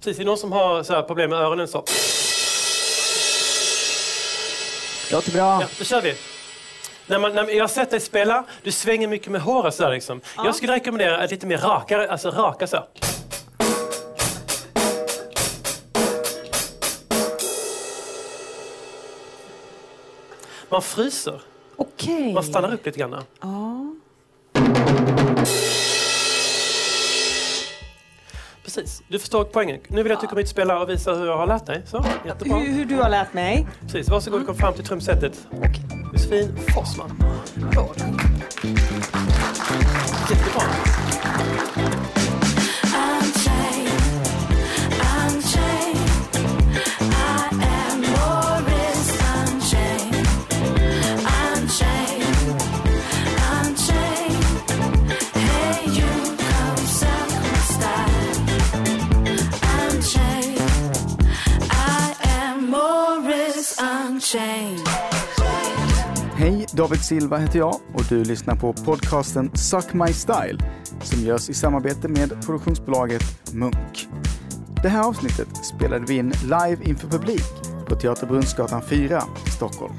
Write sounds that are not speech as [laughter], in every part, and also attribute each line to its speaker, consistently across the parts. Speaker 1: Precis, det är någon som har så här problem med öronen så.
Speaker 2: Låter bra.
Speaker 1: Ja, då kör vi. När man, när jag har sett dig spela, du svänger mycket med håret sådär liksom. Jag skulle rekommendera ett lite mer rakare, alltså raka så. Man fryser,
Speaker 3: Okej.
Speaker 1: man stannar upp lite grann.
Speaker 3: Ja.
Speaker 1: Precis, du förstår poängen. Nu vill jag att du kommer hit och spelar och visar hur jag har lärt dig. Så, jättebra.
Speaker 3: Hur, hur du har lärt mig.
Speaker 1: Precis, varsågod och kom fram till trumsetet. Josefin Forsman. Applåd. Jättebra.
Speaker 4: Unchained.
Speaker 5: Hej, David Silva heter jag och du lyssnar på podcasten Suck My Style som görs i samarbete med produktionsbolaget Munk. Det här avsnittet spelade vi in live inför publik på Teater Brunnsgatan 4 i Stockholm.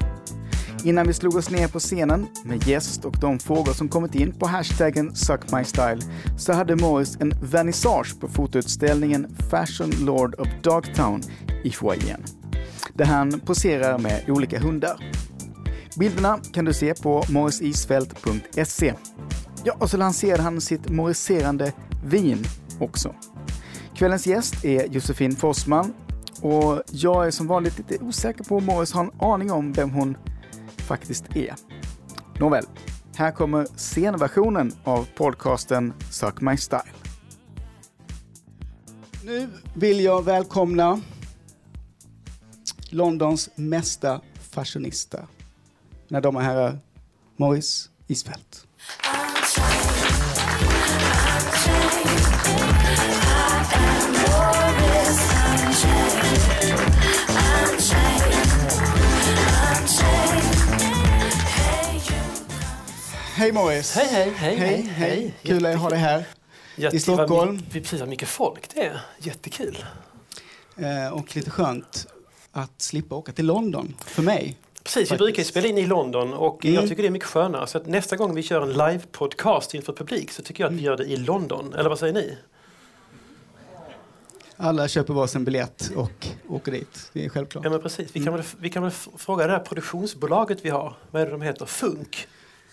Speaker 5: Innan vi slog oss ner på scenen med gäst och de frågor som kommit in på hashtaggen SuckMyStyle så hade Morris en vernissage på fotoutställningen Fashion Lord of Dogtown i foajén där han poserar med olika hundar. Bilderna kan du se på morrisisfält.se. Ja, och så lanserade han sitt morriserande vin också. Kvällens gäst är Josefin Forsman och jag är som vanligt lite osäker på om Morris har en aning om vem hon faktiskt är. Nåväl, här kommer scenversionen av podcasten Suck My Style. Nu vill jag välkomna Londons mesta fashionista när de är herrar Morris Isfält. Hej Morris!
Speaker 1: Hej, hej, hej,
Speaker 5: hej, hej. Kul att ha dig här.
Speaker 1: Jätte-
Speaker 5: I Stockholm.
Speaker 1: vad my- Precis, vad mycket folk det är. Jättekul.
Speaker 5: Eh, Och lite skönt att slippa åka till London, för mig.
Speaker 1: Precis, vi
Speaker 5: Faktiskt.
Speaker 1: brukar ju spela in i London och
Speaker 5: Mm.
Speaker 1: jag tycker det är mycket skönare. Så att nästa gång vi kör en live-podcast inför publik så tycker jag
Speaker 5: Mm.
Speaker 1: att vi gör det i London. Eller vad säger ni?
Speaker 5: Alla köper varsin biljett och åker dit. Det är självklart.
Speaker 1: Ja, men precis. Vi kan
Speaker 5: Mm.
Speaker 1: väl, vi kan väl f- fråga det här produktionsbolaget vi har. Vad är det de heter? Funk?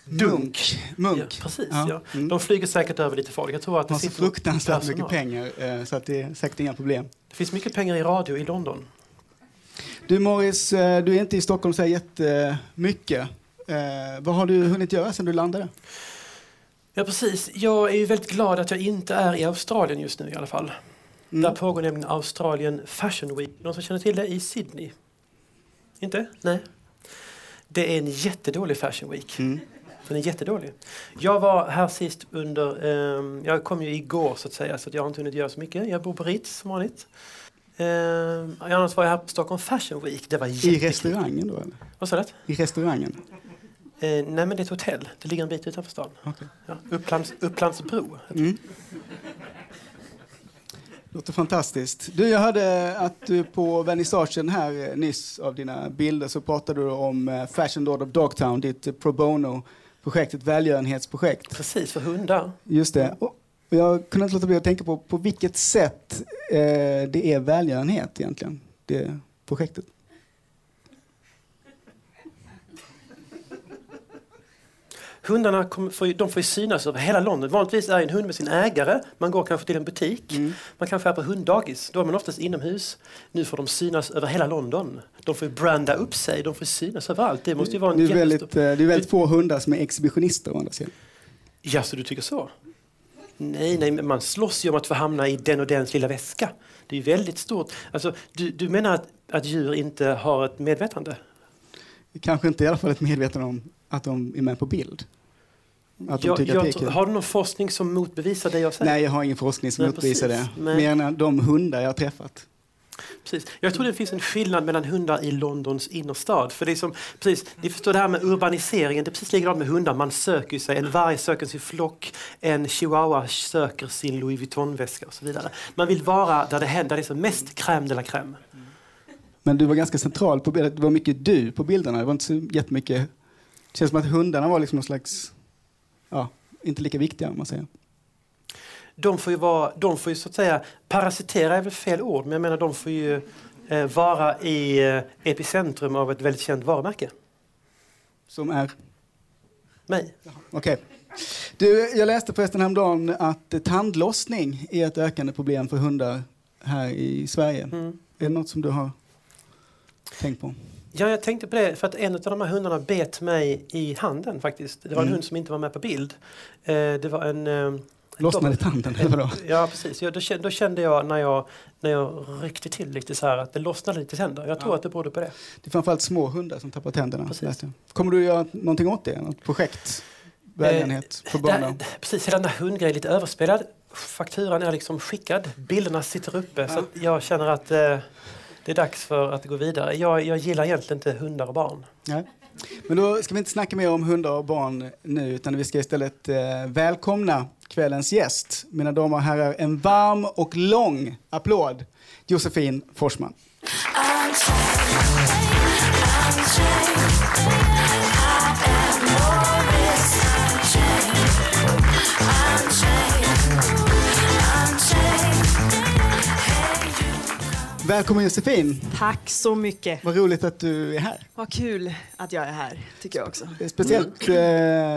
Speaker 5: Dunk.
Speaker 1: Ja,
Speaker 5: Munk.
Speaker 1: precis,
Speaker 5: Ja.
Speaker 1: ja.
Speaker 5: Mm.
Speaker 1: De flyger säkert över lite folk. Jag tror att
Speaker 5: De
Speaker 1: det,
Speaker 5: har så
Speaker 1: sitter
Speaker 5: fruktansvärt
Speaker 1: personal.
Speaker 5: mycket pengar eh, så att det är säkert inga problem.
Speaker 1: det finns mycket pengar i radio i London.
Speaker 5: Du Morris, eh, du är inte i Stockholm så här jättemycket. Eh, Vad har du hunnit göra sedan du landade?
Speaker 1: Ja, precis. Jag är ju väldigt glad att jag inte är i Australien just nu i alla fall.
Speaker 5: Mm.
Speaker 1: Där pågår nämligen Australien Fashion Week. Någon som känner till det? I Sydney? Inte? Nej. Det är en jättedålig Fashion Week.
Speaker 5: Mm.
Speaker 1: Den är jättedålig. Jag var här sist under... ehm, jag kom ju igår så att säga, så att jag har inte hunnit göra så mycket. Jag bor på Ritz som vanligt. Um, annars var jag här på Stockholm Fashion Week. Det var
Speaker 5: I
Speaker 1: jättekul.
Speaker 5: restaurangen då eller?
Speaker 1: Vad sa du?
Speaker 5: I restaurangen?
Speaker 1: Eh, nej, men det är ett hotell. Det ligger en bit utanför stan.
Speaker 5: Okej.
Speaker 1: Ja, Upplands, Upplandsbro.
Speaker 5: Mm. Låter fantastiskt. Du, jag hörde att du på vernissagen här eh, nyss av dina bilder så pratade du om eh, Fashion Lord of Dogtown, ditt eh, pro bono-projekt, ett välgörenhetsprojekt.
Speaker 1: Precis, för hundar.
Speaker 5: Just det. Och och jag kunde inte låta bli att tänka på på vilket sätt eh, det är välgörenhet egentligen, det projektet.
Speaker 1: Hundarna kommer, får, ju- de får ju synas över hela London. Vanligtvis är ju en hund med sin ägare. Man går kanske till en butik.
Speaker 5: Mm.
Speaker 1: Man kanske är på hunddagis. Då är man oftast inomhus. Nu får de synas över hela London. De får ju branda upp sig. De får synas överallt. Det måste ju vara en
Speaker 5: det, är väldigt, eh,
Speaker 1: jättestor...
Speaker 5: det är väldigt få hundar som är exhibitionister å andra sidan. eh-
Speaker 1: Ja, så du tycker så? Nej, nej, men man slåss ju om att få hamna i den och dens lilla väska. Det är ju väldigt stort. Alltså, du, du menar att, att djur inte har ett medvetande?
Speaker 5: Kanske inte i alla fall ett medvetna om att de är med på bild. Att de
Speaker 1: Jag,
Speaker 5: tycker att det
Speaker 1: jag,
Speaker 5: är
Speaker 1: tror-
Speaker 5: kul.
Speaker 1: har du någon forskning som motbevisar det jag säger?
Speaker 5: Nej, jag har ingen forskning som
Speaker 1: Nej,
Speaker 5: uppvisar det.
Speaker 1: precis. Nej.
Speaker 5: Mer än de hundar jag har träffat.
Speaker 1: Precis. Jag tror det finns en skillnad mellan hundar i Londons innerstad. För det är som, precis, ni förstår det här med urbaniseringen, det är precis likadant med hundar. Man söker ju sig, en varg söker sin flock, en chihuahua söker sin Louis Vuitton-väska och så vidare. Man vill vara där det händer, där det är som mest crème de la crème.
Speaker 5: Men du var ganska central på bilden. Det var mycket du på bilderna. Det var inte så jättemycket... Det känns som att hundarna var liksom någon slags... Ja, inte lika viktiga om man säger.
Speaker 1: De får ju vara, de får ju så att säga, parasitera är väl fel ord, men jag menar de får ju eh, vara i eh, epicentrum av ett väldigt känt varumärke.
Speaker 5: Som är...
Speaker 1: Mig.
Speaker 5: Okej. Du, jag läste förresten häromdagen att tandlossning är ett ökande problem för hundar här i Sverige.
Speaker 1: Mm.
Speaker 5: Är det något som du har tänkt på?
Speaker 1: Ja, jag tänkte på det för att en av de här hundarna bet mig i handen faktiskt. Det var en hund som inte var med på bild. Eh, det var en... Eh,
Speaker 5: Lossnade tanden, eller vadå?
Speaker 1: Ja, precis. Ja, då, kände, då kände jag när, jag när jag ryckte till lite så här att det lossnade lite tänder. Jag tror att det berodde på det.
Speaker 5: Det är framförallt små hundar som tappar tänderna.
Speaker 1: Precis. Eh,
Speaker 5: läste jag. Kommer du göra någonting åt det? Något projekt? Välgörenhet för
Speaker 1: Det
Speaker 5: barn?
Speaker 1: här, precis, hela den där hundgrejen är lite överspelad. Fakturan är liksom skickad, bilderna sitter uppe. Så att jag känner att eh, det är dags för att gå vidare. Jag, jag gillar egentligen inte hundar och barn.
Speaker 5: Nej. Men då ska vi inte snacka mer om hundar och barn nu, utan vi ska istället eh, välkomna kvällens gäst. Mina damer och herrar, en varm och lång applåd. Josefin Forsman. Välkommen Josefin,
Speaker 6: Tack så mycket.
Speaker 5: vad roligt att du är här.
Speaker 6: Vad kul att jag är här, tycker jag också.
Speaker 5: Eh, Speciellt
Speaker 6: Mm.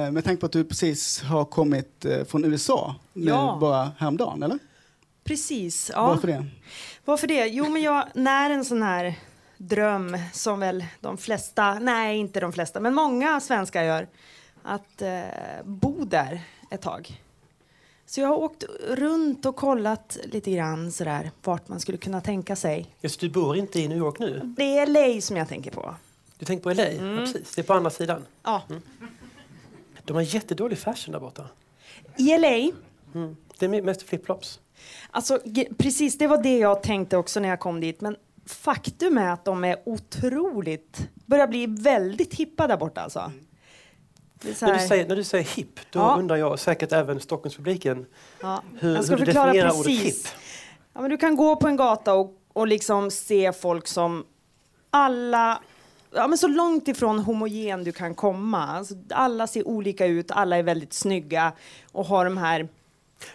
Speaker 5: eh, med tanke på att du precis har kommit eh, från USA nu
Speaker 6: Ja.
Speaker 5: bara häromdagen, eller?
Speaker 6: Precis. Ja.
Speaker 5: Varför det?
Speaker 6: Varför det? Jo, men jag när en sån här dröm som väl de flesta, nej inte de flesta, men många svenskar gör, att eh, bo där ett tag. Så jag har åkt runt och kollat lite grann sådär vart man skulle kunna tänka sig.
Speaker 1: Just du bor inte i New York nu.
Speaker 6: Det är LA som jag tänker på.
Speaker 1: Du tänker på LA? Ja, precis. Det är på andra sidan.
Speaker 6: Ja,
Speaker 5: Mm.
Speaker 1: De har jättedålig fashion där borta.
Speaker 6: i LA
Speaker 1: Mm. Det är mest flipflops.
Speaker 6: Alltså, ge- precis, det var det jag tänkte också när jag kom dit. Men faktum är att de är otroligt, börjar bli väldigt hippa där borta alltså. Det är så
Speaker 1: När
Speaker 6: här-
Speaker 1: Mm. du, säger, när du säger hip, då
Speaker 6: Ja.
Speaker 1: undrar jag säkert även Stockholmspubliken
Speaker 6: ja.
Speaker 1: hur,
Speaker 6: jag
Speaker 1: hur
Speaker 6: ska
Speaker 1: du
Speaker 6: förklara
Speaker 1: definierar ordet hip.
Speaker 6: precis. Ja, men du kan gå på en gata och, och liksom se folk som alla, ja, men så långt ifrån homogen du kan komma. Alltså, alla ser olika ut, alla är väldigt snygga och har de här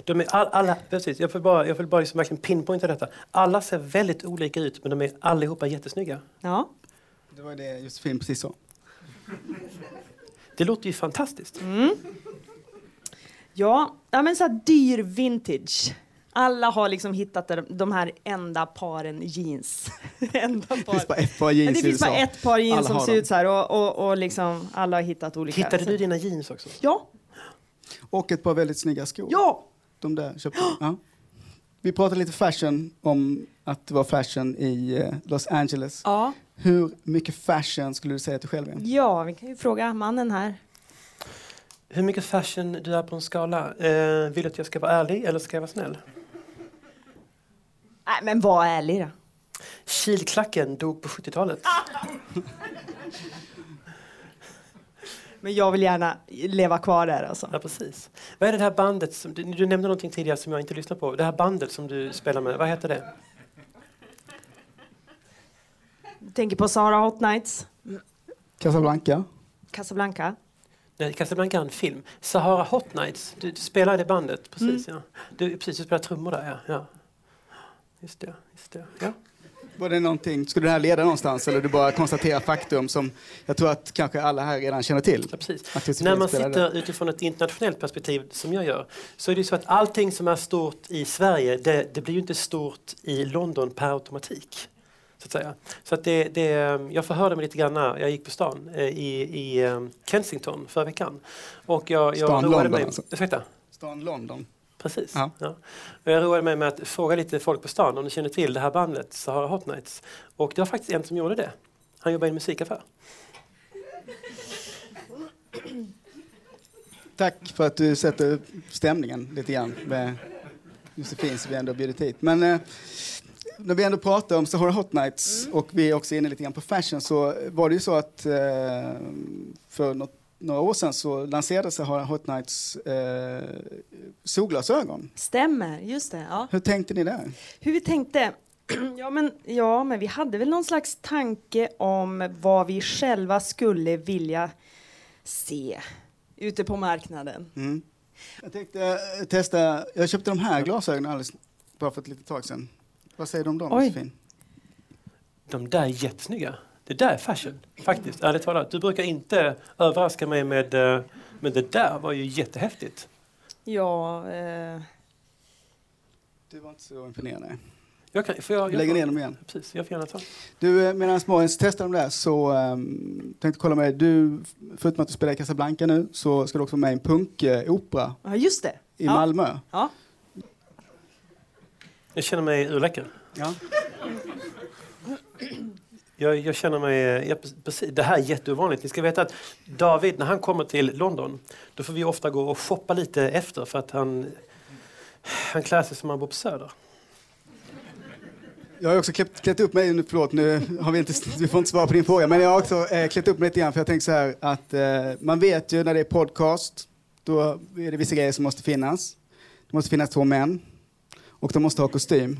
Speaker 1: De är all, alla, precis, jag vill bara, jag vill bara liksom verkligen pinpointa detta. Alla ser väldigt olika ut, men de är allihopa jättesnygga.
Speaker 6: ja,
Speaker 5: Det var det Josefin precis sa.
Speaker 1: Det låter ju fantastiskt.
Speaker 6: Mm, Ja, ja men så här dyr vintage. Alla har liksom hittat de- de här enda paren jeans. [laughs] enda par.
Speaker 5: Det finns bara ett par
Speaker 6: Men
Speaker 5: jeans
Speaker 6: det
Speaker 5: i
Speaker 6: finns bara
Speaker 5: USA.
Speaker 6: ett par jeans
Speaker 5: Alla
Speaker 6: som
Speaker 5: har
Speaker 6: ser
Speaker 5: dem.
Speaker 6: ut så här och, och, och liksom alla har hittat olika.
Speaker 1: Hittade
Speaker 6: Så-
Speaker 1: du dina jeans också?
Speaker 6: Ja,
Speaker 5: Och ett par väldigt snygga skor.
Speaker 6: ja.
Speaker 5: De där köpte ja. Vi pratade lite fashion om att det var fashion i eh, Los Angeles.
Speaker 6: Ja.
Speaker 5: Hur mycket fashion skulle du säga att du själv är?
Speaker 6: ja, vi kan ju fråga mannen här.
Speaker 1: Hur mycket fashion du är på en skala? Eh, vill du att jag ska vara ärlig eller ska jag vara snäll?
Speaker 6: Nej, men var ärlig då.
Speaker 1: Kilklacken dog på 70-talet.
Speaker 6: Men jag vill gärna leva kvar där alltså.
Speaker 1: Ja, precis. Vad är det här bandet som, du, du nämnde någonting tidigare som jag inte lyssnade på. Det här bandet som du spelar med, vad heter det?
Speaker 6: Tänker på Sara Hot Nights,
Speaker 5: Casablanca?
Speaker 6: Casablanca.
Speaker 1: Nej, Casablanca är en film. Sahara Hot Nights. Du, du spelar i det bandet, precis. Ja. Du, precis, du spelar trummor där, ja. ja. Just det, just det. Ja.
Speaker 5: Var det någonting, skulle det här leda någonstans eller du bara konstaterar faktum som jag tror att kanske alla här redan känner till?
Speaker 1: Ja,
Speaker 5: Att
Speaker 1: precis.
Speaker 5: det
Speaker 1: När man
Speaker 5: spelar
Speaker 1: sitter utifrån ett internationellt perspektiv, som jag gör, så är det ju så att allting som är stort i Sverige, det, det blir ju inte stort i London per automatik. Så att säga. Så att det, det, jag förhörde mig lite grann när jag gick på stan eh, i, i eh, Kensington förra veckan. Och jag, jag
Speaker 5: Stan
Speaker 1: roade
Speaker 5: London,
Speaker 1: mig,
Speaker 5: alltså.
Speaker 1: Ursäkta?
Speaker 5: Stan London.
Speaker 1: Precis. Ja.
Speaker 5: Ja.
Speaker 1: Och Jag roade mig med att fråga lite folk på stan om de känner till det här bandet Sahara Hot Nights. Och det var faktiskt en som gjorde det. Han jobbar i en musikaffär.
Speaker 5: Tack för att du sätter stämningen lite grann med Josefin som vi ändå har bjudit hit. Men eh, när vi ändå pratar om Sahara Hot Nights och vi är också inne lite grann på fashion så var det ju så att eh, för något, några år sedan så lanserade Sahara Hot Nights eh, solglasögon.
Speaker 6: Stämmer, just det. Ja.
Speaker 5: Hur tänkte ni där?
Speaker 6: Hur vi tänkte? [clears throat] Ja men, ja, men vi hade väl någon slags tanke om vad vi själva skulle vilja se ute på marknaden.
Speaker 5: Mm. Jag tänkte eh, testa, jag köpte de här glasögonen alldeles bara för ett litet tag sedan. Vad säger du om dem
Speaker 6: Oj.
Speaker 5: Josefin?
Speaker 1: De där är jättesnygga. Det där är fashion, faktiskt. Ärligt talat. Du brukar inte överraska mig med... eh, Men det där var ju jättehäftigt.
Speaker 6: Ja, eh,
Speaker 5: Du var inte så imponerad. nej.
Speaker 1: Jag kan, får jag,
Speaker 5: Vi
Speaker 1: jag
Speaker 5: lägger ner dem igen.
Speaker 1: Precis, jag får gärna ta.
Speaker 5: Du, eh, medan Morris testar de där så um, tänkte kolla med dig. Du, förutom att du spelar i Casablanca nu så ska du också vara med i en punkopera
Speaker 6: ja, just det.
Speaker 5: i
Speaker 6: ja.
Speaker 5: Malmö.
Speaker 6: Ja.
Speaker 1: Jag känner mig urläcker.
Speaker 5: Ja.
Speaker 1: Jag, jag känner mig... Ja, precis, det här är jätteovanligt. Ni ska veta att David, när han kommer till London, då får vi ofta gå och shoppa lite efter för att han, han klär sig som han bor på Söder.
Speaker 5: Jag har också klätt, klätt upp mig, nu, förlåt nu har vi inte, [laughs] vi får inte svara på din fråga, men jag har också eh, klätt upp mig lite grann för jag tänkte så här att eh, man vet ju när det är podcast, då är det vissa grejer som måste finnas. Det måste finnas två män och de måste ha kostym.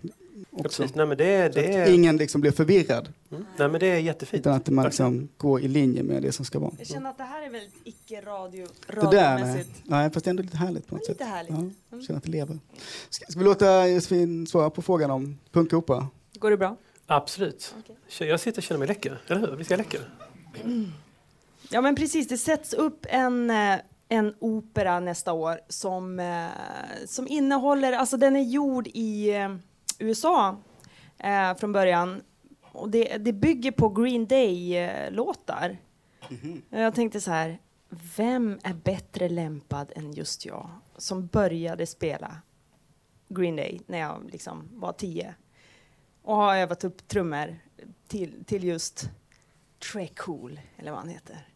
Speaker 1: Ja,
Speaker 5: Också.
Speaker 1: precis. Nej, men det, är- det,
Speaker 5: Så att
Speaker 1: är,
Speaker 5: ingen liksom blir förvirrad,
Speaker 1: mm, nej, men det är jättefint.
Speaker 5: utan att man liksom går i linje med det som ska vara.
Speaker 6: Jag känner att det här är väldigt icke-radio,
Speaker 5: Det där, nej.
Speaker 6: radiomässigt.
Speaker 5: nej, fast det är ändå lite härligt på något
Speaker 6: Ja, lite
Speaker 5: sätt.
Speaker 6: härligt. Mm.
Speaker 5: Ja, känner att det lever. Ska, ska vi låta Josefin svara på frågan om punkopera?
Speaker 6: Går det bra?
Speaker 1: Absolut. Jag sitter och känner mig läcker. Eller hur? Visst är jag läcker?
Speaker 6: Ja, men precis. Det sätts upp en, eh, en opera nästa år som, eh, som innehåller... Alltså, den är gjord i eh, USA eh, från början. Och det, det bygger på Green Day-låtar. Jag tänkte så här... Vem är bättre lämpad än just jag som började spela Green Day när jag liksom var tio och har övat upp trummor till, till just Tre Cool, eller vad han heter.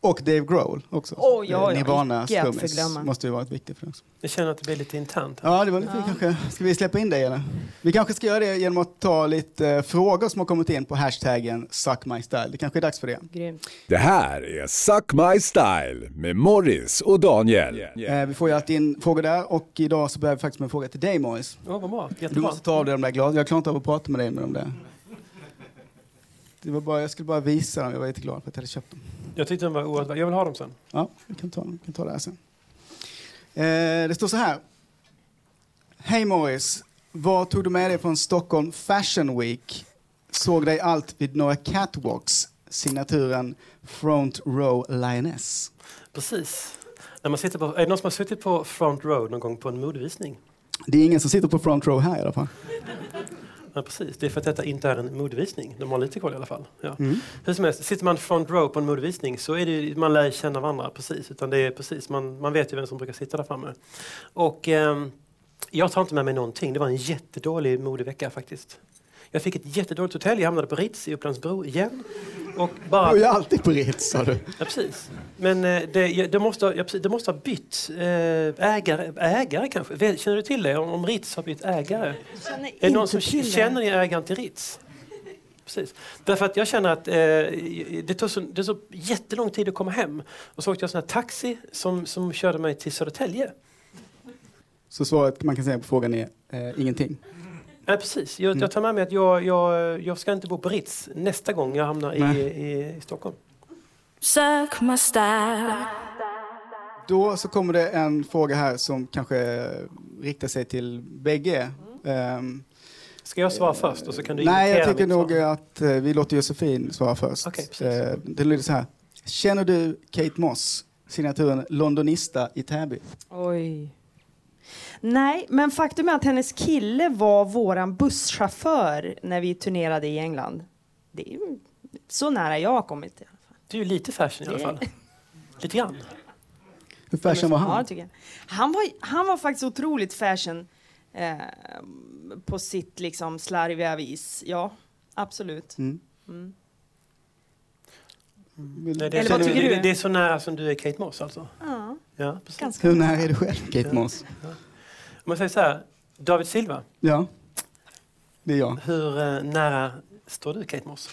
Speaker 5: Och Dave Grohl också.
Speaker 6: Oj, oj, oj,
Speaker 5: Nirvanas
Speaker 6: icke att
Speaker 5: trummis
Speaker 6: förglömma.
Speaker 5: måste ju varit viktig för oss.
Speaker 1: Jag känner att det blir lite internt.
Speaker 5: Ja, det var lite kanske. Ska vi släppa in dig eller? Vi kanske ska göra det genom att ta lite eh, frågor som har kommit in på hashtaggen suckmystyle. Det kanske är dags för det.
Speaker 6: Grymt.
Speaker 7: Det här är Suck My Style med Morris och Daniel.
Speaker 5: Eh, vi får ju alltid in frågor där och idag så börjar vi faktiskt med en fråga till dig Morris.
Speaker 1: Ja, vad bra.
Speaker 5: Du
Speaker 1: Jättebra.
Speaker 5: måste ta av dig de där glasögonen. Jag klarar inte av att prata med dig med de där. Det var bara, jag skulle bara visa dem. Jag var jätteglad för att jag hade köpt dem.
Speaker 1: Jag tyckte den var oerhört Jag vill ha dem sen.
Speaker 5: Ja, vi kan ta, vi kan ta det här sen. Eh, det står så här. Hej Morris. Vad tog du med dig från Stockholm Fashion Week? Såg dig allt vid några catwalks. Signaturen Front Row Lioness.
Speaker 1: Precis. När man sitter på, är det någon som har suttit på front row någon gång på en modevisning?
Speaker 5: Det är ingen som sitter på Front Row här i alla fall.
Speaker 1: Ja, precis. Det är för att detta inte är en modevisning. De har lite koll i alla fall. Ja.
Speaker 5: Mm.
Speaker 1: Hur som helst, sitter man front row på en modevisning så är det ju, man lär ju känna varandra precis. Utan det är precis, man, man vet ju vem som brukar sitta där framme. Och ehm, jag tar inte med mig någonting. Det var en jättedålig modevecka faktiskt. Jag fick ett jättedåligt hotell. Jag hamnade på Ritz i Upplandsbro igen. Och bara...
Speaker 5: Du är alltid på Ritz, sa du.
Speaker 1: Ja, precis. Men eh, det, ja, det, måste, ha- ja, precis, det måste ha bytt eh, ägare, ägare kanske. Vet- Känner du till det? Om, om Ritz har bytt ägare?
Speaker 6: Känner
Speaker 1: Är det någon som
Speaker 6: inte till det.
Speaker 1: känner ni ägaren till Ritz? Precis. Därför att jag känner att eh, det tog så, det tog jättelång tid att komma hem. Och så åkte jag sån här taxi som, som körde mig till Södertälje.
Speaker 5: Så svaret man kan säga på frågan är eh, ingenting.
Speaker 1: Nej, precis. Jag,
Speaker 5: Mm.
Speaker 1: jag tar med mig att jag, jag, jag ska inte bo på Ritz nästa gång jag hamnar i,
Speaker 5: Nej.
Speaker 1: i, i Stockholm.
Speaker 8: Suck my style.
Speaker 5: Då så kommer det en fråga här som kanske riktar sig till bägge. Ehm,
Speaker 1: Ska jag svara först och så kan du
Speaker 5: Nej, jag
Speaker 1: imitera
Speaker 5: tycker
Speaker 1: mitt
Speaker 5: nog
Speaker 1: svar?
Speaker 5: att eh, vi låter Josefin svara först.
Speaker 1: Okej, precis.
Speaker 5: eh, det lyder så här. Känner du Kate Moss, signaturen Londonista i Täby?
Speaker 6: Oj. Nej, men faktum är att hennes kille var våran busschaufför när vi turnerade i England. Det är ju så nära jag har kommit. i alla
Speaker 5: eh,
Speaker 6: fall.
Speaker 1: Du är lite fashion i alla fall. Lite grann.
Speaker 5: Hur fashion var
Speaker 6: Ja,
Speaker 5: han?
Speaker 6: det tycker jag. Han, var, han var faktiskt otroligt fashion eh, på sitt liksom slarviga vis. Ja, absolut.
Speaker 5: Mm.
Speaker 6: Mm.
Speaker 5: Vill-
Speaker 1: Nej, det, är,
Speaker 6: Eller vad
Speaker 1: det,
Speaker 6: tycker
Speaker 1: det,
Speaker 6: du?
Speaker 1: det är så nära som du är Kate Moss alltså? Ja, precis.
Speaker 6: Ganska.
Speaker 5: Hur nära är du själv Kate Moss?
Speaker 1: Om man säger så här, David Silva,
Speaker 5: Ja, det är jag.
Speaker 1: hur eh, nära står du Kate Moss?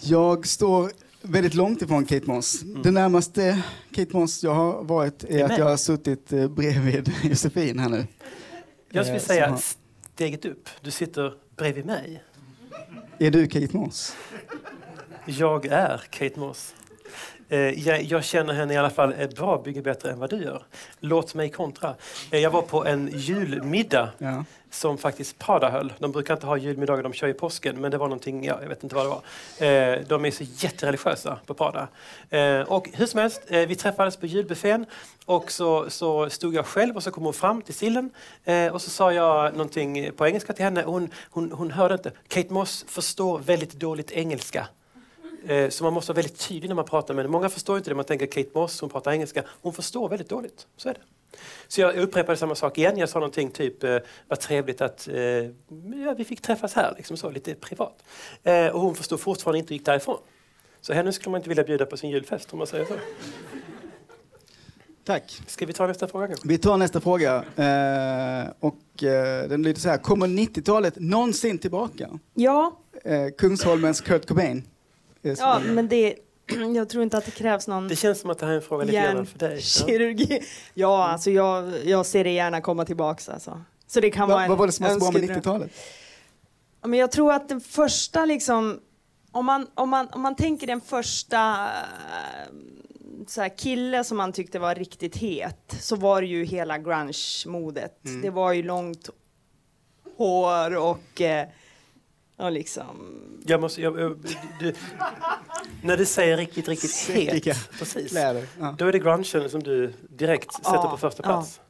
Speaker 5: Jag står väldigt långt ifrån Kate Moss. Det närmaste Kate Moss jag har varit är att
Speaker 1: Mm. mig.
Speaker 5: jag har suttit eh, bredvid [laughs] Josefin här nu.
Speaker 1: Jag skulle
Speaker 5: Eh,
Speaker 1: säga
Speaker 5: som har-
Speaker 1: steget upp. Du sitter bredvid mig.
Speaker 5: Är du Kate Moss?
Speaker 1: Jag är Kate Moss. Eh, jag, jag känner henne i alla fall ett bra bygge bättre än vad du gör. Låt mig kontra. Eh, jag var på en julmiddag
Speaker 5: Ja.
Speaker 1: som faktiskt Prada höll. De brukar inte ha julmiddagar, de kör ju påsken, men det var någonting, ja, jag vet inte vad det var. Eh, de är så jättereligiösa på Prada. Eh, och hur som helst, eh, vi träffades på julbuffén och så, så stod jag själv och så kom hon fram till sillen eh, och så sa jag någonting på engelska till henne. Hon, hon, hon hörde inte. Kate Moss förstår väldigt dåligt engelska. Eh, Så man måste vara väldigt tydlig när man pratar med henne. Många förstår inte det. Man tänker Kate Moss, hon pratar engelska. Hon förstår väldigt dåligt. Så är det. Så jag upprepade samma sak igen. Jag sa någonting typ, eh, vad trevligt att eh, ja, vi fick träffas här, liksom så, lite privat. Eh, och hon förstod fortfarande inte och gick därifrån. Så henne skulle man inte vilja bjuda på sin julfest om man säger så.
Speaker 5: Tack.
Speaker 1: Ska vi ta nästa fråga kanske?
Speaker 5: Vi tar nästa fråga. Eh, och, eh, den lyder så här. Kommer 90-talet någonsin tillbaka?
Speaker 6: Ja,
Speaker 5: Eh, Kungsholmens Kurt Cobain. Eh, som är-
Speaker 6: ja men det, [clears throat] jag tror inte att det krävs någon
Speaker 1: Det känns som att det här är en fråga lite grann för dig. Ja.
Speaker 6: hjärnkirurgi. Ja, alltså jag, jag ser det gärna komma tillbaks. Alltså. Så det kan vara
Speaker 5: Va,
Speaker 6: en
Speaker 5: vad var det som var så bra med
Speaker 6: önskedröm.
Speaker 5: 90-talet?
Speaker 6: Ja, Men jag tror att den första liksom, om man, om man, om man tänker den första eh, så här, kille som man tyckte var riktigt het, så var det ju hela grunge-modet.
Speaker 5: Mm.
Speaker 6: Det var ju långt hår och, eh, och liksom
Speaker 1: Jag måste, jag, jag, du, när du säger riktigt, riktigt
Speaker 5: Säkra.
Speaker 1: het, precis,
Speaker 5: Kläder. Ja.
Speaker 1: då är det grungen som du direkt sätter
Speaker 6: Ja,
Speaker 1: på första
Speaker 6: ja.
Speaker 1: plats.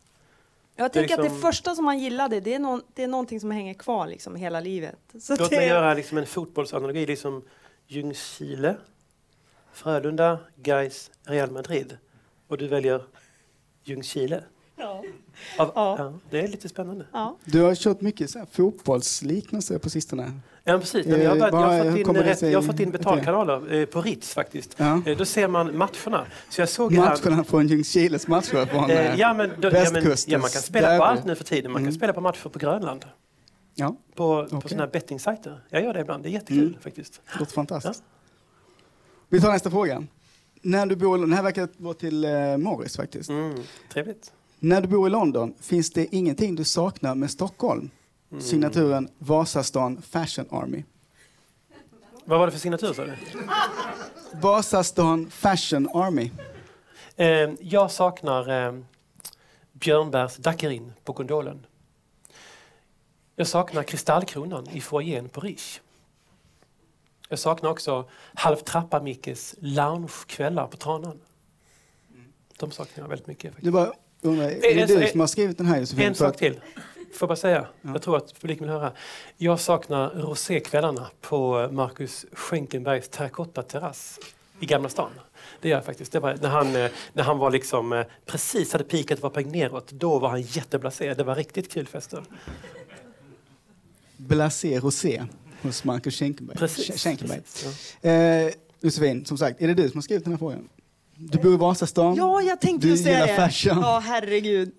Speaker 6: Jag
Speaker 1: Det är
Speaker 6: tänker att det
Speaker 1: liksom-
Speaker 6: första som man gillade, det är, någon, det är någonting som hänger kvar liksom hela livet. Så
Speaker 1: Låt
Speaker 6: det,
Speaker 1: mig göra liksom en fotbollsanalogi. Liksom Ljungskile, Frölunda, Gais, Real Madrid. Och du väljer Ljungskile.
Speaker 6: Ja.
Speaker 1: Av, ja.
Speaker 6: Ja.
Speaker 1: det är lite spännande.
Speaker 6: Ja.
Speaker 5: Du har kört mycket så här, fotbollsliknelser på sistone.
Speaker 1: Ja, precis. Nej, men jag, har
Speaker 5: Eh,
Speaker 1: börjat- jag,
Speaker 5: bara,
Speaker 1: har
Speaker 5: hur
Speaker 1: fått in
Speaker 5: kommer det
Speaker 1: rätt,
Speaker 5: sig-
Speaker 1: jag har fått in
Speaker 5: okej.
Speaker 1: betalkanaler eh, på Ritz faktiskt.
Speaker 5: Ja.
Speaker 1: Eh, då ser man matcherna. Så jag såg här...
Speaker 5: Matcherna från Ljungskiles matcher från...
Speaker 1: Eh,
Speaker 5: eh,
Speaker 1: ja, men, då, ja, men,
Speaker 5: västkustens
Speaker 1: ja, man kan spela
Speaker 5: derby.
Speaker 1: på allt nu för tiden. Man kan spela på matcher på Grönland.
Speaker 5: ja,
Speaker 1: På, på
Speaker 5: Mm. Okej. Mm.
Speaker 1: sådana här bettingsajter. Jag gör det ibland. Det är jättekul faktiskt.
Speaker 5: det låter fantastiskt. Vi tar nästa fråga. När du bor, den här verkar vara till eh, Morris faktiskt.
Speaker 1: Mm, trevligt.
Speaker 5: När du bor i London, finns det ingenting du saknar med Stockholm?
Speaker 1: Mm.
Speaker 5: Signaturen Vasastan Fashion Army.
Speaker 1: Vad var det för signatur sa du?
Speaker 5: Vasastan Fashion Army.
Speaker 1: Eh, jag saknar eh, Björnbergs daiquirin på gondolen. Jag saknar kristallkronan i foajén på Riche. Jag saknar också Halvtrappa-Mickes loungekvällar på Tranan. De saknar jag väldigt mycket. Faktiskt.
Speaker 5: Du bara undrar, är det
Speaker 1: en-
Speaker 5: du
Speaker 1: en-
Speaker 5: som har skrivit den här Josefin?
Speaker 1: Eh, En
Speaker 5: För
Speaker 1: sak
Speaker 5: att-
Speaker 1: till. Får jag bara säga? Jag tror att publiken vill höra. Jag saknar rosékvällarna på Marcus Schenkenbergs terrakottaterrass i Gamla stan. Det gör jag faktiskt. Det var när han, eh, när han var liksom, eh, precis hade pikat och var på väg neråt. Då var han jätteblasé. Det var riktigt kul fester.
Speaker 5: Blasé Rosé hos Marcus Schenkenberg. Sch-
Speaker 1: Precis.
Speaker 5: Schenkenberg.
Speaker 1: Precis.
Speaker 5: Eh, Josefin, som sagt, är det du som har skrivit den här frågan? Du bor i Vasastan.
Speaker 6: ja, jag tänkte
Speaker 5: Du
Speaker 6: just säga
Speaker 5: gillar
Speaker 6: det.
Speaker 5: fashion.
Speaker 6: Ja, herregud.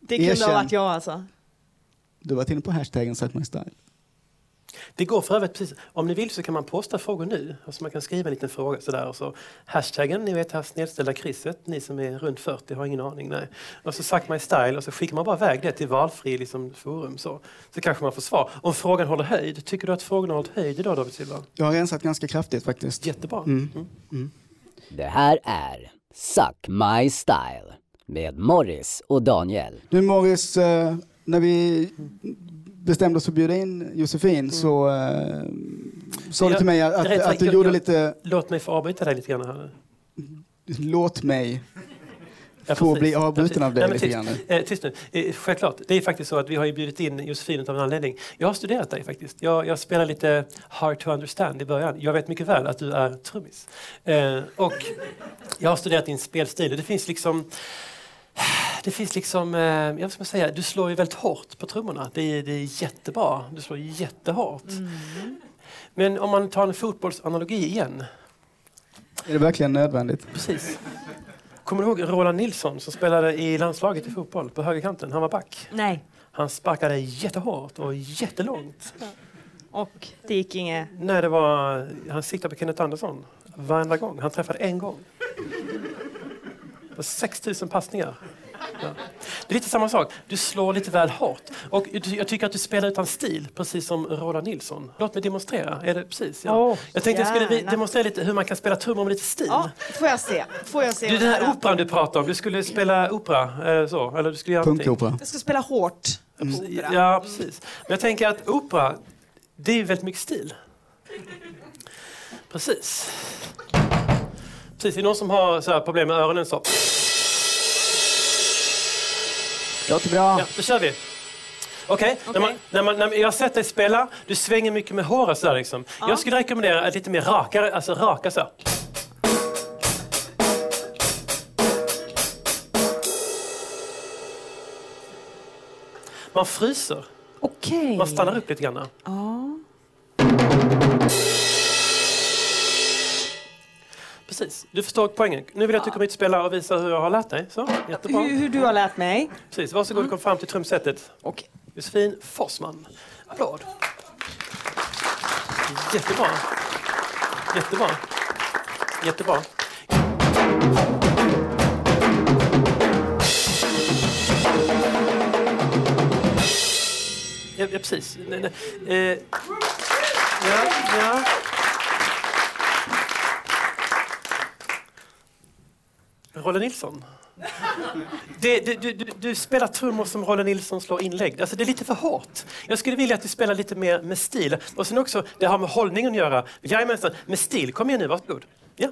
Speaker 6: Det kunde
Speaker 5: Erkänn.
Speaker 6: ha varit jag alltså.
Speaker 5: Du har varit inne på hashtaggen Suck My Style.
Speaker 1: Det går för övrigt precis. Om ni vill så kan man posta frågor nu. Alltså man kan skriva en liten fråga sådär och så hashtaggen, ni vet här snedställda krysset, ni som är runt 40 har ingen aning. Nej. Och så Suck My Style och så skickar man bara iväg det till valfri liksom, forum så. Så kanske man får svar. Om frågan håller höjd, tycker du att frågan har hållit höjd idag David Silva?
Speaker 5: Jag har rensat ganska kraftigt faktiskt.
Speaker 1: Jättebra. Mm.
Speaker 9: Det här är Suck My Style med Morris och Daniel.
Speaker 5: Du Morris, eh, när vi bestämde oss för att bjuda in Josefin
Speaker 1: Mm.
Speaker 5: så eh, sa du
Speaker 1: Jag-
Speaker 5: till mig
Speaker 1: jag
Speaker 5: att,
Speaker 1: vet,
Speaker 5: att, att du
Speaker 1: jag-
Speaker 5: gjorde
Speaker 1: jag-
Speaker 5: lite
Speaker 1: Låt mig få avbryta dig lite grann här nu.
Speaker 5: låt mig.
Speaker 1: Ja,
Speaker 5: Får
Speaker 1: precis.
Speaker 5: bli avbruten
Speaker 1: Ja,
Speaker 5: av dig
Speaker 1: precis.
Speaker 5: lite
Speaker 1: Nej, men tyst. Eh, tyst nu. Eh, självklart, det är faktiskt så att vi har ju bjudit in Josefin av en anledning. Jag har studerat dig faktiskt. Jag, jag spelar lite hard to understand i början. Jag vet mycket väl att du är trummis. Eh, och jag har studerat din spelstil. Det finns liksom... Det finns liksom, eh, jag vad ska man säga, du slår ju väldigt hårt på trummorna. Det är, det är jättebra. Du slår jättehårt. Men om man tar en fotbollsanalogi igen.
Speaker 5: Är det verkligen nödvändigt?
Speaker 1: Precis. Kommer du ihåg Roland Nilsson som spelade i landslaget i fotboll på högerkanten? Han var back.
Speaker 6: Nej.
Speaker 1: Han sparkade jättehårt och jättelångt.
Speaker 6: Och det gick inget.
Speaker 1: Nej, det var, han siktade på Kenneth Andersson varenda gång. Han träffade en gång. Det var 6 000 passningar. Ja. Det är lite samma sak. Du slår lite väl hårt. Och du- jag tycker att du spelar utan stil, precis som Roland Nilsson. Låt mig demonstrera. Är det precis? Ja.
Speaker 6: Åh,
Speaker 1: jag tänkte jag skulle vi-
Speaker 6: gärna.
Speaker 1: demonstrera lite hur man kan spela trummor med lite stil.
Speaker 6: Ja, får jag se. Får jag se
Speaker 1: Du,
Speaker 6: vad
Speaker 1: den
Speaker 6: det
Speaker 1: här
Speaker 6: är.
Speaker 1: operan du pratar om, du skulle spela opera? Eller så? Eller du skulle göra någonting.
Speaker 4: Punktopera.
Speaker 6: Jag ska spela hårt. Opera.
Speaker 1: Mm. Ja, precis. Men jag tänker att opera, det är ju väldigt mycket stil. Precis. Precis, det är någon som har så här problem med öronen så.
Speaker 2: Låter bra.
Speaker 1: Ja, då kör vi. Okej, när man, när man, när man, jag har sett dig spela, du svänger mycket med håret sådär liksom. Jag skulle rekommendera ett lite mer rakare, alltså raka så. här. Man fryser,
Speaker 6: Okej.
Speaker 1: man stannar upp lite grann.
Speaker 6: Ja.
Speaker 1: Precis, du förstår poängen. Nu vill jag att du kommer hit och spelar och visar hur jag har lärt dig. Så, jättebra.
Speaker 6: Hur, hur du har lärt mig.
Speaker 1: Precis, varsågod och kom fram till trumsetet.
Speaker 6: Och
Speaker 1: Josefin Forsman. Applåd. Jättebra. Jättebra. Jättebra. Ja, ja precis. Nej, nej. Eh, ja, ja. Rolle Nilsson. Det, det, du, du, du spelar trummor som Rolle Nilsson slår inlägg. Alltså, det är lite för hårt. Jag skulle vilja att du spelar lite mer med stil. Och sen också, det har med hållningen att göra. Jajamensan, med stil. Kom igen nu, varsågod. Ja.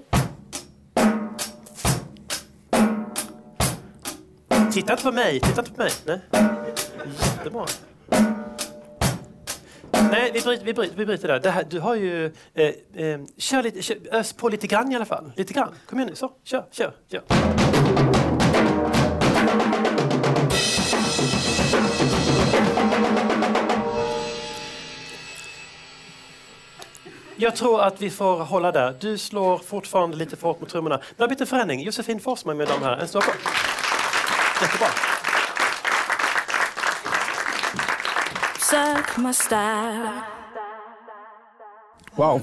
Speaker 1: Titta inte på mig, titta inte på mig. Nej. Jättebra. Nej, vi bryter, vi bryter, vi bryter där. Det här, du har ju... Eh, eh, kör lite, kör, ös på lite grann i alla fall. Lite grann. Kom igen nu, så. Kör, kör, kör. Jag tror att vi får hålla där. Du slår fortfarande lite för hårt mot trummorna. Men det har blivit en förändring. Josefin Forsman med dem här. En stor applåd. Jättebra.
Speaker 8: Sök mig stark.
Speaker 4: Wow.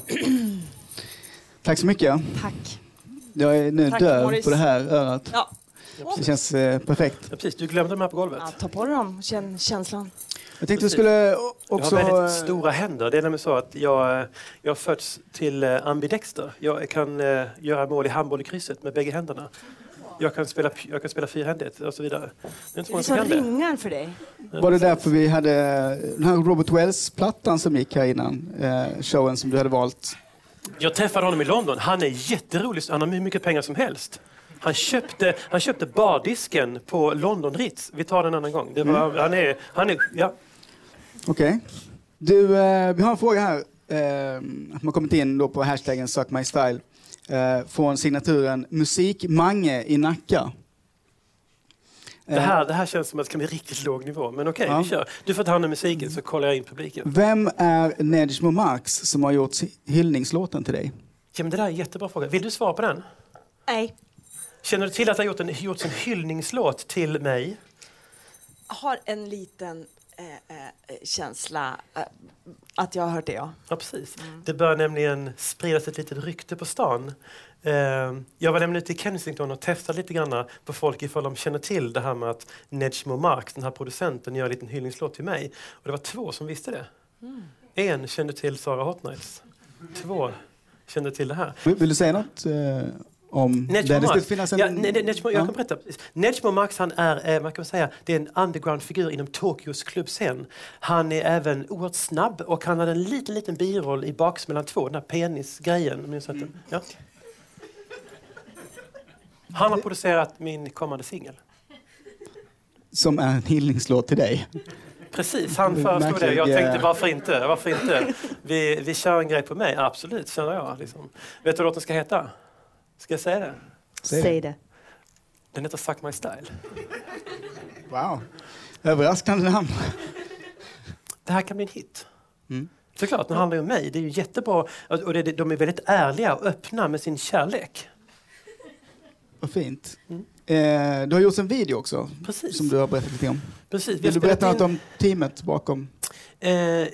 Speaker 5: Tack så mycket.
Speaker 6: tack.
Speaker 4: Jag är nu
Speaker 6: Tack,
Speaker 4: döv
Speaker 6: Morris.
Speaker 4: på det här örat.
Speaker 6: Ja.
Speaker 4: Det känns eh, perfekt.
Speaker 1: Ja, precis, du glömde de här på golvet.
Speaker 6: Ja, ta på dig dem. Känn känslan.
Speaker 4: Jag tänkte vi skulle o- också...
Speaker 1: Jag har
Speaker 4: eh,
Speaker 1: väldigt stora händer. Det är nämligen så att jag, eh, jag har fötts till eh, ambidexter. Jag kan eh, göra mål i handboll i krysset med bägge händerna. Jag kan spela, p- jag kan spela fyrhändigt och så vidare. Det är inte så
Speaker 6: Det är
Speaker 1: många som
Speaker 6: som
Speaker 1: kan det.
Speaker 6: ringar för dig.
Speaker 4: Var det därför vi hade den här Robert Wells-plattan som gick här innan? Eh, showen som du hade valt.
Speaker 1: Jag träffade honom i London. Han är jätterolig. Han har hur mycket pengar som helst. Han köpte, han köpte bardisken på London Ritz. Vi tar den en annan gång. Det var, han är, han är, ja.
Speaker 4: Okej. Du, eh, vi har en fråga här eh, som har kommit in då på hashtaggen SuckMyStyle eh, från signaturen Musikmange i Nacka. Eh,
Speaker 1: det, här, det här känns som att det kan bli riktigt låg nivå. Men okej,
Speaker 4: Ja.
Speaker 1: vi kör. Du får ta hand om musiken så kollar jag in publiken.
Speaker 4: Vem är Nedjmo Marx som har gjort si- hyllningslåten till dig?
Speaker 1: Ja, men det där är en jättebra fråga. Vill du svara på den?
Speaker 6: Nej.
Speaker 1: Känner du till att det har gjort en, gjorts en hyllningslåt till mig?
Speaker 6: Jag har en liten eh, eh, känsla eh, att jag har hört det, ja.
Speaker 1: Ja, precis. Det börjar nämligen spridas ett litet rykte på stan. Eh, jag var nämligen ute i Kensington och testade lite grann på folk ifall de känner till det här med att Nedjmo Marx, den här producenten, gör en liten hyllningslåt till mig. Och det var två som visste det. En kände till Sara Hot Nights. Två kände till det här.
Speaker 4: Vill, vill du säga något eh, om
Speaker 1: Nedjmo
Speaker 4: det? skulle
Speaker 1: Marx.
Speaker 4: finnas en...
Speaker 1: Ja, ne, ne, Nedjmo, jag
Speaker 4: Ja.
Speaker 1: kan berätta. precis. Nedjmo Marx han är, eh, man kan säga, det är en underground-figur inom Tokyos klubbscen. Han är även oerhört snabb och han hade en liten, liten biroll i Baksmällan 2, den här penisgrejen. Minns du att
Speaker 4: Mm.
Speaker 1: den- ja. Han har producerat min kommande singel.
Speaker 4: Som är en hyllningslåt till dig.
Speaker 1: Precis, han föreslog det.
Speaker 4: Märklig,
Speaker 1: Jag tänkte
Speaker 4: eh.
Speaker 1: varför inte? Varför inte? Vi, vi kör en grej på mig, absolut, känner jag. Liksom. Vet du vad låten ska heta? Ska jag säga det?
Speaker 4: Säg det.
Speaker 6: det.
Speaker 1: Den heter Suck My Style.
Speaker 4: Wow. Överraskande namn.
Speaker 1: det här kan bli en hit.
Speaker 5: Mm.
Speaker 1: Såklart, den handlar ju om mig. Det är ju jättebra. Och det, de är väldigt ärliga och öppna med sin kärlek.
Speaker 5: Vad fint.
Speaker 1: Mm.
Speaker 5: Eh, du har gjort en video också
Speaker 1: Precis.
Speaker 5: som du har berättat lite om.
Speaker 1: Precis. vi har
Speaker 5: Vill du
Speaker 1: spelat
Speaker 5: berätta
Speaker 1: in-
Speaker 5: något om teamet bakom?
Speaker 1: Eh,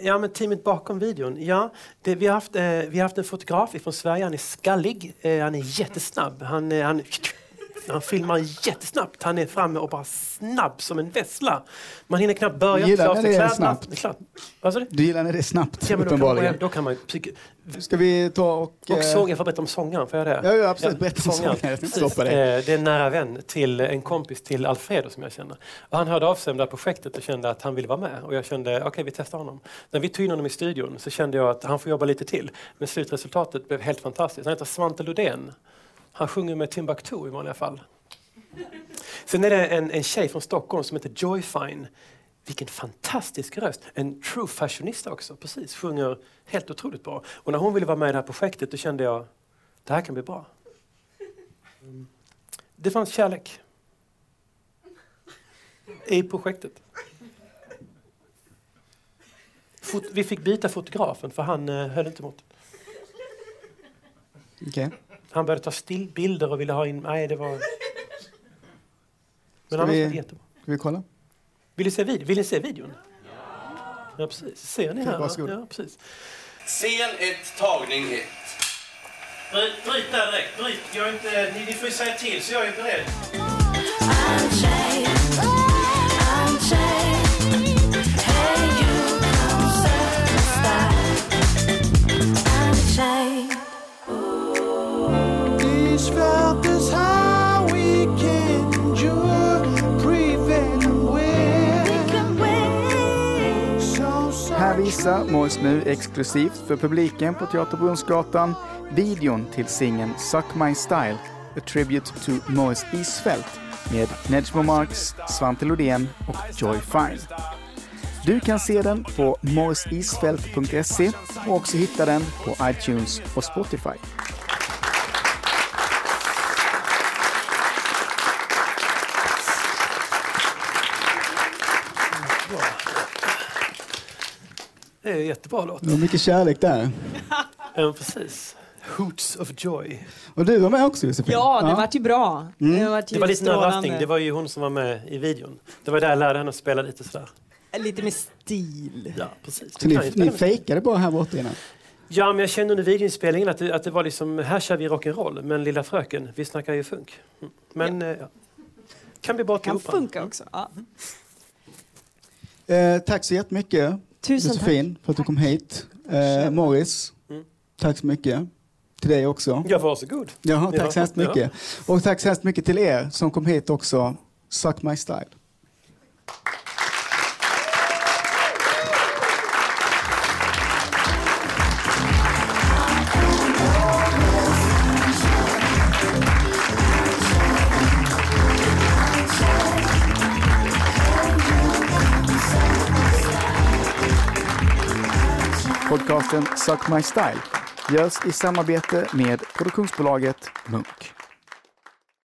Speaker 1: ja, men teamet bakom videon. Ja, det, vi, har haft, eh, vi har haft en fotograf från Sverige. Han är skallig. Eh, han är jättesnabb. Han, eh, han, han filmar jättesnabbt. Han är framme och bara snabb som en vessla. Man hinner knappt börja.
Speaker 5: Gillar
Speaker 1: klä av
Speaker 5: när
Speaker 1: sig
Speaker 5: det är
Speaker 1: kläderna.
Speaker 5: snabbt.
Speaker 1: Det är klart. Vad sa du?
Speaker 5: Du gillar när det är snabbt
Speaker 1: Ja, men då kan man,
Speaker 5: uppenbarligen.
Speaker 1: då kan man psyk-
Speaker 5: Ska vi ta och...
Speaker 1: och
Speaker 5: eh,
Speaker 1: sång, jag får berätta om sångaren, får jag det?
Speaker 5: Ja, ja, absolut. Berätta om sångaren. Jag
Speaker 1: Precis.
Speaker 5: stoppar dig.
Speaker 1: Eh, Det är en nära vän till en kompis till Alfredo som jag känner. Och han hörde av sig om det här projektet och kände att han ville vara med. Och jag kände, okej vi testar honom. När vi tog in honom i studion så kände jag att han får jobba lite till. Men slutresultatet blev helt fantastiskt. Han heter Svante Lodén. Han sjunger med Timbuktu i vanliga fall. Sen är det en, en tjej från Stockholm som heter Joy Fine. Vilken fantastisk röst! En true fashionista också, precis. Sjunger helt otroligt bra. Och när hon ville vara med i det här projektet då kände jag, det här kan bli bra. Mm. Det fanns kärlek. I projektet. Fot vi fick byta fotografen för han eh, höll inte emot.
Speaker 5: Okej.
Speaker 1: Han började ta stillbilder och ville ha in... Nej, det var... Men annars
Speaker 5: vi-
Speaker 1: var det jättebra.
Speaker 5: Ska vi kolla?
Speaker 1: Vill ni se, vid vill ni se videon? Ja, precis. Ser ni här? va?
Speaker 5: varsågod.
Speaker 1: Ja, precis.
Speaker 10: Scen ett, tagning ett.
Speaker 1: Bryt, bryt där direkt. Bryt. Jag inte, ni, får ju säga till så jag är beredd.
Speaker 4: Här visar Morris nu exklusivt för publiken på Teaterbrunnsgatan videon till singeln Suck My Style, A Tribute to Morris Isfält med Nedjmo Marx, Svante Lodén och Joy Fine. Du kan se den på morrisisfält.se och också hitta den på iTunes och Spotify.
Speaker 1: Det är en jättebra låt.
Speaker 5: Det var mycket kärlek där.
Speaker 1: Ja, precis. Hoots of joy.
Speaker 5: Och du var med också Josefin?
Speaker 6: Ja, det vart ju bra.
Speaker 5: Mm.
Speaker 6: Det vart ju
Speaker 1: Det var lite nervösting.
Speaker 6: strålande.
Speaker 1: Det var ju hon som var med i videon. Det var där jag lärde henne att spela lite sådär.
Speaker 6: Lite med stil.
Speaker 1: Ja, precis. Du
Speaker 5: Så
Speaker 1: kan ju
Speaker 5: ni,
Speaker 1: spela
Speaker 5: ni
Speaker 1: lite.
Speaker 5: fejkade bara här borta innan?
Speaker 1: Ja, men jag kände under videoinspelningen att det, att det var liksom, här kör vi rock'n'roll, men lilla fröken, vi snackar ju funk. Mm. Men, eh, ja. Kan bli bort
Speaker 6: Kan funka också. Ja.
Speaker 5: Eh, tack så jättemycket
Speaker 6: Tusen tack.
Speaker 5: Josefin för att du kom hit. Eh, Morris,
Speaker 1: Mm.
Speaker 5: tack så mycket. Till dig också.
Speaker 1: Ja, varsågod.
Speaker 5: Ja,
Speaker 1: Ja,
Speaker 5: tack så hemskt
Speaker 1: ja.
Speaker 5: mycket. Och tack så hemskt mycket till er som kom hit också. Suck my style.
Speaker 4: Podcasten Suck My Style görs i samarbete med produktionsbolaget Munk.